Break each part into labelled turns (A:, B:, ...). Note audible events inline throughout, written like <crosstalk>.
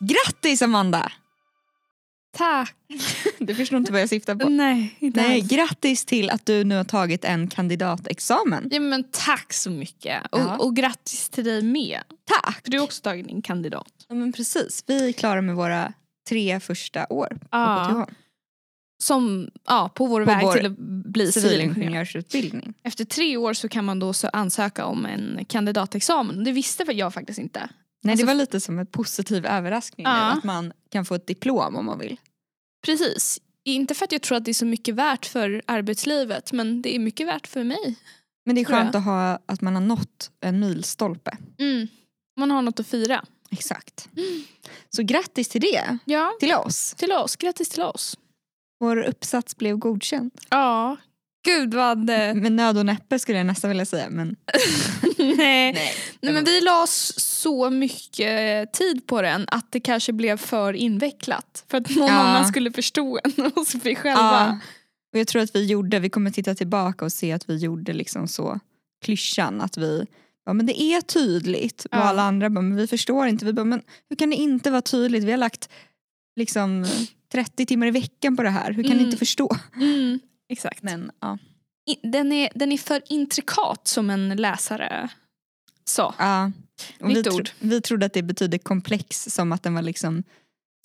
A: Grattis Amanda! Tack! Du förstår inte vad jag syftar på.
B: Nej, inte
A: Nej,
B: alls.
A: grattis till att du nu har tagit en kandidatexamen.
B: Ja, men tack så mycket. Och,
A: Ja.
B: och grattis till dig med.
A: Tack!
B: För du har också tagit din kandidat.
A: Ja, men precis. Vi är klara med våra tre första år på
B: Ja.
A: KTH.
B: Som, ja, på vår
A: På
B: väg
A: vår
B: till att bli civilingenjör.
A: Civilingenjörsutbildning.
B: Efter tre år så kan man då så ansöka om en kandidatexamen. Det visste väl jag faktiskt inte.
A: Nej,
B: Alltså-
A: det var lite som en positiv överraskning nu,
B: Ja.
A: att man kan få ett diplom om man vill.
B: Precis. Inte för att jag tror att det är så mycket värt för arbetslivet men det är mycket värt för mig.
A: Men det är
B: Tror jag.
A: skönt att, ha, att man har nått en milstolpe.
B: Mm. Man har något att fira.
A: Exakt. Så grattis till det,
B: Ja,
A: till oss.
B: till oss. Grattis till oss.
A: Vår uppsats blev godkänd.
B: Ja. Gud <laughs> vad... eh,
A: Med nöd och näppe skulle jag nästan vilja säga. Men,
B: Nej.
A: nej.
B: Nej, men vi la s- så mycket tid på den att det kanske blev för invecklat. För att någon
A: Ja.
B: annan skulle förstå en <laughs> och så fick själva...
A: ja. Och jag tror att vi gjorde, vi kommer titta tillbaka och se att vi gjorde liksom så klyschan att vi Ja, men det är tydligt och
B: Ja.
A: alla andra bara, men vi förstår inte. Vi bara, men hur kan det inte vara tydligt? Vi har lagt liksom 30 timmar i veckan på det här. Hur kan ni
B: Mm.
A: inte förstå?
B: Mm, exakt.
A: Men ja.
B: I- Den, är, den är för intrikat som en läsare sa.
A: Ja. Och vi,
B: Nytt
A: tro,
B: ord.
A: vi trodde att det betydde komplex som att den var liksom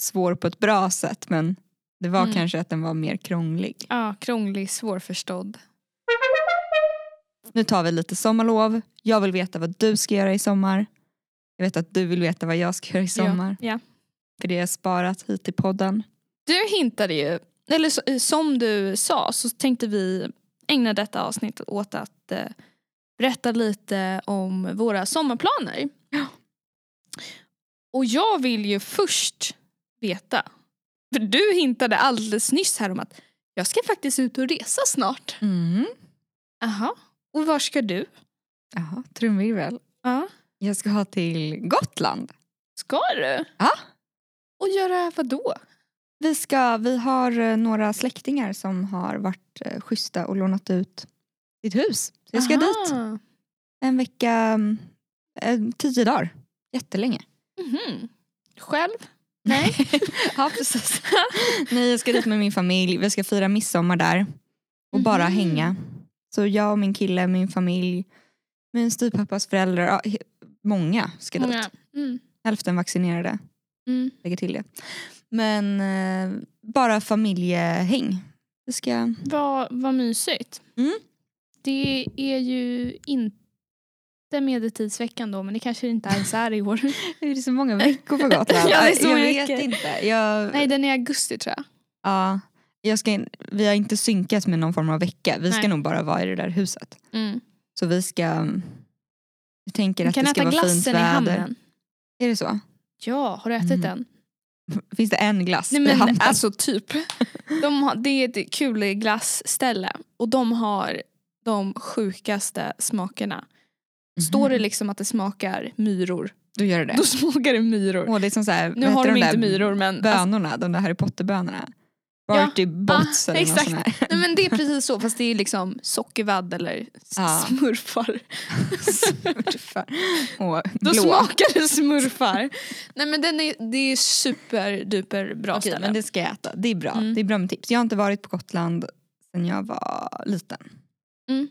A: svår på ett bra sätt men det var
B: Mm.
A: kanske att den var mer krånglig.
B: Ja, krånglig, svårförstådd.
A: Nu tar vi lite sommarlov. Jag vill veta vad du ska göra i sommar. Jag vet att du vill veta vad jag ska göra i sommar.
B: Ja. Ja.
A: För det har jag sparat hit till podden.
B: Du hintade ju, eller så, eh, som du sa så tänkte vi ägna detta avsnitt åt att eh, berätta lite om våra sommarplaner. Och jag vill ju först veta, för du hintade alldeles nyss här om att jag ska faktiskt ut och resa snart.
A: Mm.
B: Aha. Och var ska du?
A: Jaha, trumvirvel.
B: Ja.
A: Jag ska ha till Gotland.
B: Ska du?
A: Ja.
B: Och göra vad då?
A: Vi, ska, vi har eh, några släktingar som har varit eh, schyssta och lånat ut sitt hus. Så jag ska dit. En vecka, mm, eh, tio dagar. Jättelänge.
B: Mhm. Själv? <laughs> Nej.
A: Ja, precis. <laughs> Nej, jag ska dit med min familj. Vi ska fira midsommar där och bara
B: Mhm.
A: hänga. Så jag och min kille, min familj, min styvpappas föräldrar, ja, he- många ska dit.
B: Många. Mm.
A: Hälften vaccinerade,
B: Mm.
A: lägger till det. Men eh, bara familjehäng. Vi ska...
B: Vad, vad mysigt.
A: Mm.
B: Det är ju inte medeltidsveckan då men det kanske det inte ens är
A: <laughs>
B: i år.
A: Det är så
B: <laughs>
A: många veckor på Gotland.
B: Ja, det är så
A: jag
B: många
A: vet
B: veckor.
A: inte. Jag,
B: Nej den är i augusti tror jag.
A: ja, jag ska, in- vi har inte synkat med någon form av vecka. Vi ska
B: Nej.
A: nog bara vara i det där huset. Så vi ska... mm, Vi tänker
B: Du
A: att
B: kan
A: det ska vara
B: äta
A: fint
B: glassen i
A: väder.
B: hamnen.
A: Är det så? <laughs>
B: Ja, har du ätit
A: Mm.
B: den?
A: Finns det en glass
B: Nej,
A: i hamnen?
B: men, alltså typ. De har, det är ett kul glassställe och de har de sjukaste smakerna. Står
A: Mm-hmm.
B: det liksom att det smakar myror,
A: Du gör det?
B: då <laughs> smakar det myror.
A: Åh, det är som så här,
B: Nu
A: vad
B: har
A: heter
B: de inte
A: där Alltså-
B: myror men
A: Bönorna, de där Harry Potter-bönorna.
B: Ja.
A: Barty Bots
B: Ah,
A: eller något
B: exakt.
A: sånt här.
B: Nej, men det är precis så fast det är liksom sockervadd eller s-
A: Ja.
B: smurfar. <laughs>
A: Smurfar. Och
B: Då
A: blå.
B: smakar det smurfar. Nej men den är, det är superduper bra
A: Okej,
B: ställe.
A: men det ska jag äta. Det är bra.
B: Mm.
A: Det är bra med tips. Jag har inte varit på Gotland sedan jag var liten.
B: Mm.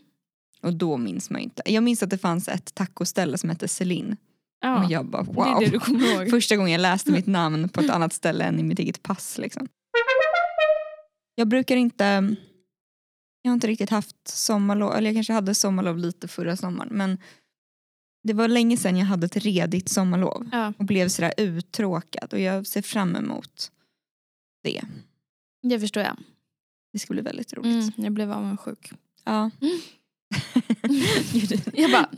A: Och då minns man ju inte. Jag minns att det fanns ett tacoställe som hette Celine.
B: ja,
A: Och jag bara wow.
B: det är det du kommer ihåg.
A: Första gången jag läste
B: Mm.
A: mitt namn på ett annat ställe än i mitt eget pass. Liksom. Jag brukar inte... Jag har inte riktigt haft sommarlov, eller jag kanske hade sommarlov lite förra sommaren men det var länge sedan jag hade ett redigt sommarlov
B: Ja,
A: och blev sådär uttråkad och jag ser fram emot det.
B: det förstår jag.
A: Det ska bli väldigt roligt.
B: Mm, jag blev avundsjuk.
A: Ja.
B: Mm.
A: Gud, <laughs>
B: Jag bara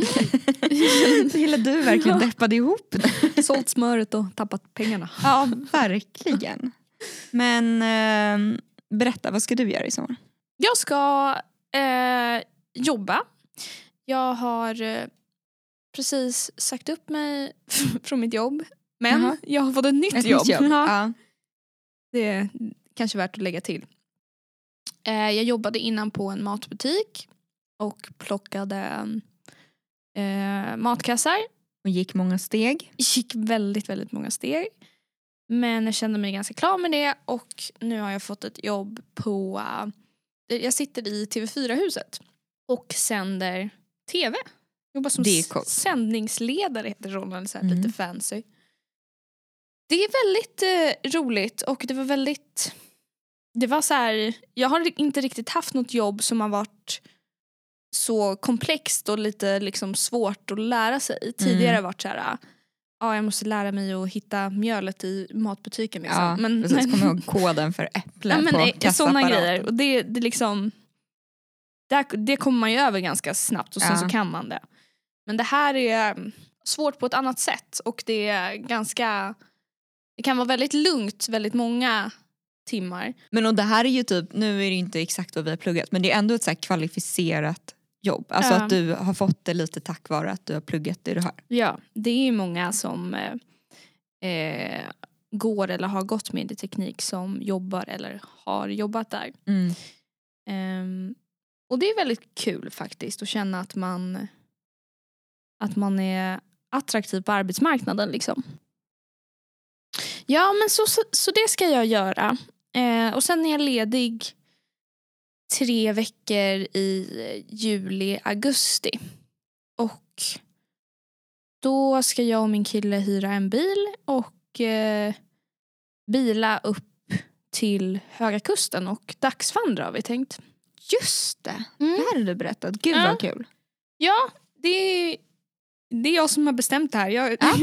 B: Mm.
A: Hela du verkligen deppade
B: <laughs>
A: ihop
B: sålt smöret och tappat pengarna.
A: Ja, verkligen. Men ehm, berätta, vad ska du göra i sommar?
B: Jag ska eh, jobba. Jag har eh, precis sagt upp mig <laughs> från mitt jobb. Men
A: Jaha.
B: jag har fått ett nytt jobb. <laughs> Ja.
A: Ja.
B: Det är kanske värt att lägga till. Eh, jag jobbade innan på en matbutik och plockade eh, matkassar.
A: Och gick många steg.
B: Gick väldigt, väldigt många steg. Men jag kände mig ganska klar med det och nu har jag fått ett jobb på... eh, jag sitter i TV4-huset och sänder TV. Jobbar som
A: Det är
B: s-
A: coolt.
B: sändningsledare heter rollen, så här,
A: Mm.
B: lite fancy. Det är väldigt eh, roligt och det var väldigt... Det var så här, jag har inte riktigt haft något jobb som har varit så komplext och lite liksom svårt att lära sig. Tidigare
A: Mm.
B: har det varit så här, ja jag måste lära mig att hitta mjölet i matbutiken. Liksom.
A: Ja,
B: men,
A: precis. Kom ihåg koden för äpple
B: <laughs> ja, men,
A: på
B: eh, såna
A: kassaapparaten.
B: grejer. Och det, det, liksom, där, det kommer man ju över ganska snabbt och sen
A: Ja.
B: så kan man det. Men det här är mm, svårt på ett annat sätt och det är ganska, det kan vara väldigt lugnt väldigt många timmar.
A: Men och det här är ju typ, nu är det inte exakt vad vi har pluggat men det är ändå ett så här kvalificerat jobb. Alltså
B: Ja.
A: att du har fått det lite tack vare att du har pluggat det du har.
B: Ja, det är ju många som eh, eh, går eller har gått med teknik som jobbar eller har jobbat där.
A: Mm.
B: Ehm, och det är väldigt kul faktiskt att känna att man, att man är attraktiv på arbetsmarknaden. Liksom. Ja men så, så, så det ska jag göra. Eh, och sen är jag ledig tre veckor i juli, augusti. Och då ska jag och min kille hyra en bil och eh, bila upp till Höga Kusten och dagsvandra har vi tänkt.
A: Just det,
B: Mm.
A: det här har du berättat. Gud
B: Ja.
A: vad kul.
B: Ja, det är, det är jag som har bestämt det här. Jag, <laughs>
A: Ja.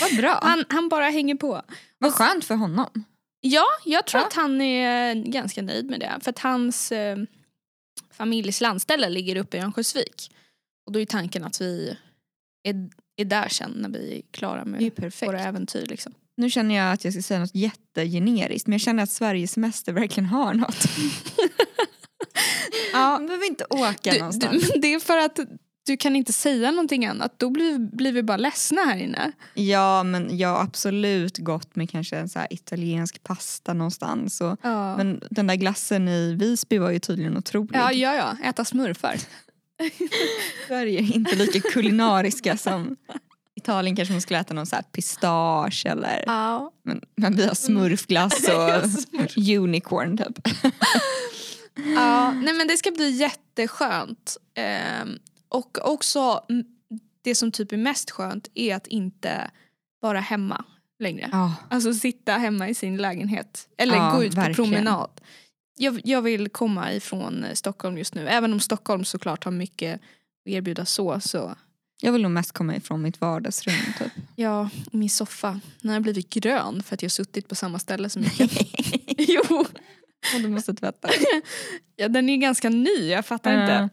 A: Vad bra.
B: han, han bara hänger på.
A: vad skönt för honom.
B: Ja, jag tror
A: Ja.
B: att han är ganska nöjd med det. För att hans eh, familjs landställe ligger uppe i Örnsköldsvik. Och då är tanken att vi är, är där sen när vi är klara med
A: Det är ju perfekt.
B: våra äventyr. Liksom.
A: Nu känner jag att jag ska säga något jättegeneriskt men jag känner att Sveriges semester verkligen har <laughs> något. ja, men vi inte åka
B: Du, du,
A: någonstans.
B: men <laughs> det är för att du kan inte säga någonting annat. Då blir, blir vi bara ledsna här inne.
A: Ja men jag har absolut gått med kanske en så här italiensk pasta någonstans. Och,
B: Ja.
A: Men den där glassen i Visby var ju tydligen otrolig.
B: Ja, ja, ja. Äta smurfar.
A: Sverige är inte lika kulinariska som Italien kanske man skulle äta någon så här pistage eller
B: <laughs> Ja. Mm.
A: men, men vi har smurfglass
B: <laughs>
A: och unicorn typ.
B: ja.
A: Mm.
B: Nej, men det ska bli jätteskönt. Ehm, och också mm, det som typ är mest skönt är att inte vara hemma längre.
A: Ja,
B: Alltså sitta hemma i sin lägenhet. Eller
A: Ja,
B: gå ut
A: verkligen.
B: på promenad. Jag, jag vill komma ifrån eh, Stockholm just nu. Även om Stockholm såklart har mycket att erbjuda så. så.
A: jag vill nog mest komma ifrån mitt vardagsrum typ.
B: Ja, min soffa. Den har blivit grön för att jag har suttit på samma ställe så mycket.
A: <laughs>
B: <laughs> jo,
A: Och du måste tvätta.
B: ja, den är ganska ny. Jag fattar inte.
A: Ja.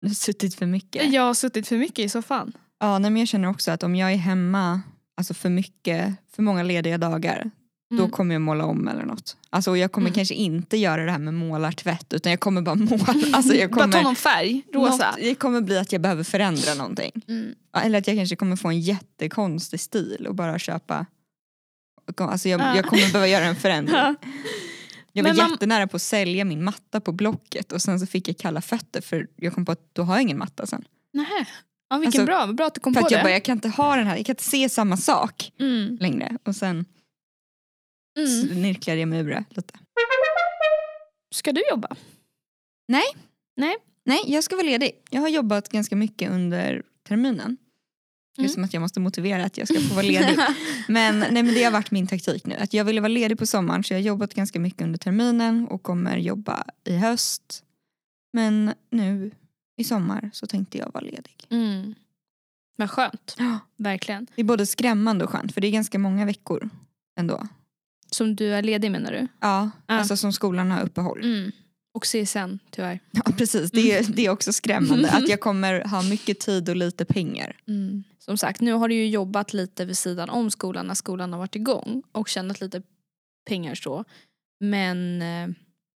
A: Du har suttit för mycket.
B: Jag har suttit för mycket i soffan.
A: Ja, nej, men jag känner också att om jag är hemma alltså för mycket, för många lediga dagar
B: Mm.
A: då kommer jag måla om eller något. Alltså, och jag kommer
B: Mm.
A: kanske inte göra det här med målartvätt utan jag kommer bara <laughs> måla. Alltså, jag
B: Bara ta
A: kommer,
B: någon färg, rosa.
A: Något, det kommer bli att jag behöver förändra någonting.
B: Mm.
A: Ja, Eller att jag kanske kommer få en jättekonstig stil och bara köpa Alltså jag,
B: Ja.
A: jag kommer behöva göra en
B: <laughs>
A: förändring.
B: Ja.
A: Jag var
B: Men man-
A: jättenära på att sälja min matta på Blocket och sen så fick jag kalla fötter för jag kom på att då har jag ingen matta sen.
B: Nähä. Ja, vilken
A: Alltså,
B: bra, vad bra att du kom
A: För
B: på
A: att jag
B: det.
A: bara, jag kan inte ha den här, jag kan inte se samma sak
B: Mm.
A: längre. Och sen
B: Mm.
A: snirklade jag mig ur det lite.
B: Ska du jobba?
A: Nej, jag ska vara ledig. Jag har jobbat ganska mycket under terminen. Det är
B: Mm.
A: som att jag måste motivera att jag ska få vara <laughs> <laughs> ledig. Men, nej, men det har varit min taktik nu. Att jag ville vara ledig på sommaren så jag har jobbat ganska mycket under terminen och kommer jobba i höst. Men nu i sommar så tänkte jag vara ledig.
B: <laughs> mm. Vad skönt, verkligen.
A: Det är både skrämmande och skönt för det är ganska många veckor ändå.
B: Som du är ledig menar du?
A: Ja,
B: Ja.
A: alltså som skolan har uppehåll.
B: Mm. Och CSN tyvärr.
A: Ja, precis. Det <laughs> är, det är också skrämmande att jag kommer ha mycket tid och lite pengar.
B: Mm. Som sagt, nu har du ju jobbat lite vid sidan om skolan när skolan har varit igång och tjänat lite pengar så. Men eh,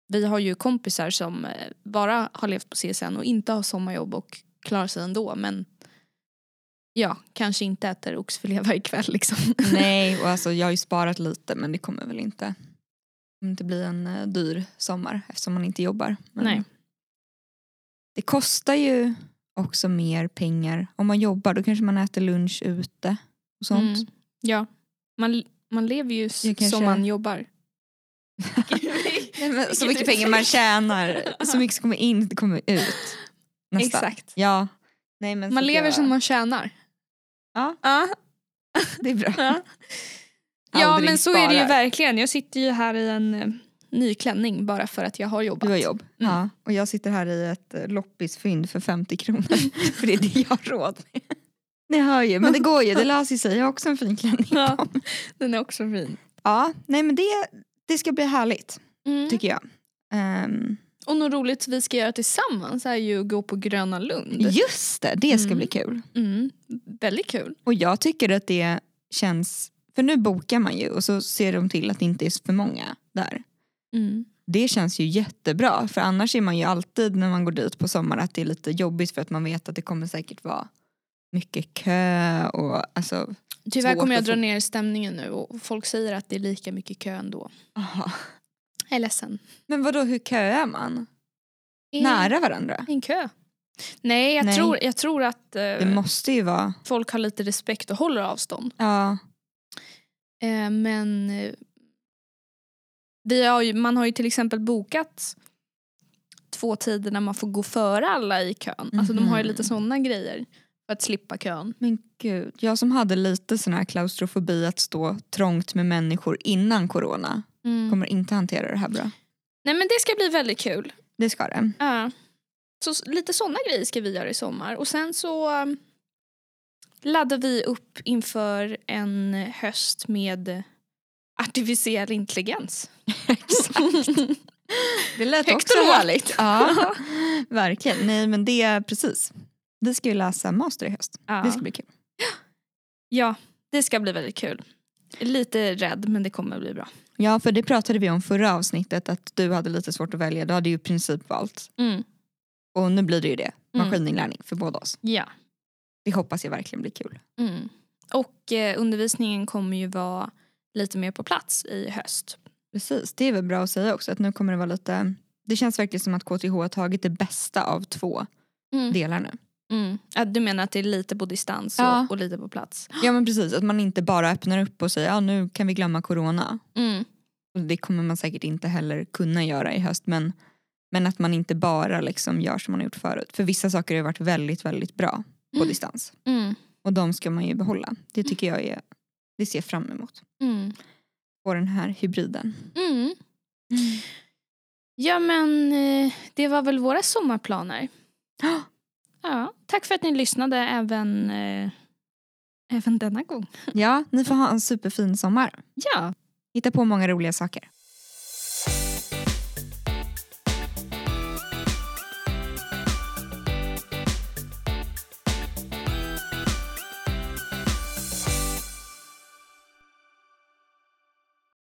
B: vi har ju kompisar som eh, bara har levt på CSN och inte har sommarjobb och klarar sig ändå men ja, kanske inte äter oxfilé varje kväll liksom. <laughs>
A: Nej, och alltså jag har ju sparat lite men det kommer väl inte, det kommer inte bli en eh, dyr sommar eftersom man inte jobbar. Men
B: Nej.
A: Det kostar ju också mer pengar. Om man jobbar då kanske man äter lunch ute och sånt.
B: Mm. Ja, man, Man lever ju s-
A: Jag kanske-
B: som man jobbar. <laughs>
A: Nej, men, så
B: Vilket
A: mycket
B: är
A: pengar man
B: fel. <laughs>
A: tjänar, så mycket som kommer in det kommer ut. <laughs> Nästan.
B: Exakt.
A: Ja. Nej, men så
B: Man
A: att
B: lever
A: jag,
B: som man tjänar.
A: Ja.
B: ja.
A: <laughs> Det är bra.
B: Ja. Ja
A: Aldrig
B: men så är det ju
A: sparar.
B: verkligen. Jag sitter ju här i en eh, ny klänning bara för att jag har jobbat.
A: Du har jobb.
B: Mm.
A: Ja. Och jag sitter här i ett eh, loppisfynd för 50 kronor. <laughs> för det är det jag har råd med. Ni hör ju, men det går <laughs> ju. Det löser sig. Jag har också en fin klänning.
B: Ja, den är också fin.
A: Ja, nej men det, det ska bli härligt
B: Mm.
A: tycker jag. Ehm,
B: Och något roligt vi ska göra tillsammans är ju att gå på Gröna Lund.
A: just det, det ska
B: Mm.
A: bli kul.
B: Mm. Väldigt kul.
A: Och jag tycker att det känns, för nu bokar man ju och så ser de till att det inte är för många där.
B: Mm.
A: Det känns ju jättebra för annars är man ju alltid när man går dit på sommaren att det är lite jobbigt för att man vet att det kommer säkert vara mycket kö och alltså,
B: Tyvärr
A: Svårt
B: kommer jag
A: att
B: dra
A: få-
B: ner stämningen nu och folk säger att det är lika mycket kö ändå.
A: aha.
B: Jag är ledsen.
A: Men vadå hur köar man?
B: I
A: Nära varandra?
B: En kö. Nej jag,
A: Nej.
B: Tror, jag tror att eh,
A: Det måste ju vara,
B: folk har lite respekt och håller avstånd.
A: ja,
B: Eh, men eh, vi har ju, man har ju till exempel bokat två tider när man får gå före alla i kön. Alltså de har ju
A: Mhm.
B: lite sådana grejer för att slippa kön.
A: Men gud, jag som hade lite sån här klaustrofobi att stå trångt med människor innan corona
B: Mm.
A: kommer inte hantera det här bra.
B: Nej men det ska bli väldigt kul.
A: Det ska det.
B: Ja. Så s- lite sådana grejer ska vi göra i sommar och sen så eh, laddar vi upp inför en höst med artificiell intelligens. <laughs> Exakt.
A: Det lät
B: Högt
A: också
B: och lågt.
A: härligt. Ja, <laughs> verkligen. Nej men det är precis. Vi ska ju läsa master i höst.
B: Ja.
A: Det ska bli kul.
B: Ja, det ska bli väldigt kul. Lite rädd men det kommer bli bra.
A: Ja för det pratade vi om förra avsnittet att du hade lite svårt att välja. Du hade ju i princip valt. Och nu blir det ju det.
B: Mm.
A: Maskininlärning för båda oss.
B: Ja. Mm.
A: Det hoppas jag verkligen blir kul.
B: Och eh, undervisningen kommer ju vara lite mer på plats i höst.
A: Precis, det är väl bra att säga också att nu kommer det vara lite det känns verkligen som att KTH har tagit det bästa av två
B: Mm.
A: delar nu.
B: Mm. Ja, du menar att det är lite på distans och,
A: Ja.
B: och lite på plats?
A: Ja men precis, att man inte bara öppnar upp och säger ja nu kan vi glömma corona.
B: Mm,
A: Och det kommer man säkert inte heller kunna göra i höst men, men att man inte bara liksom gör som man har gjort förut. För vissa saker har ju varit väldigt väldigt bra på
B: Mm.
A: distans
B: Mm.
A: och de ska man ju behålla. Det tycker jag är, det ser jag fram emot.
B: Mm.
A: På den här hybriden.
B: Mm. Ja men eh, det var väl våra sommarplaner. <gasps>
A: Ja.
B: Ja. Tack för att ni lyssnade även, eh, även denna gång.
A: Ja, ni får ha en superfin sommar.
B: Ja.
A: Hitta på många roliga saker.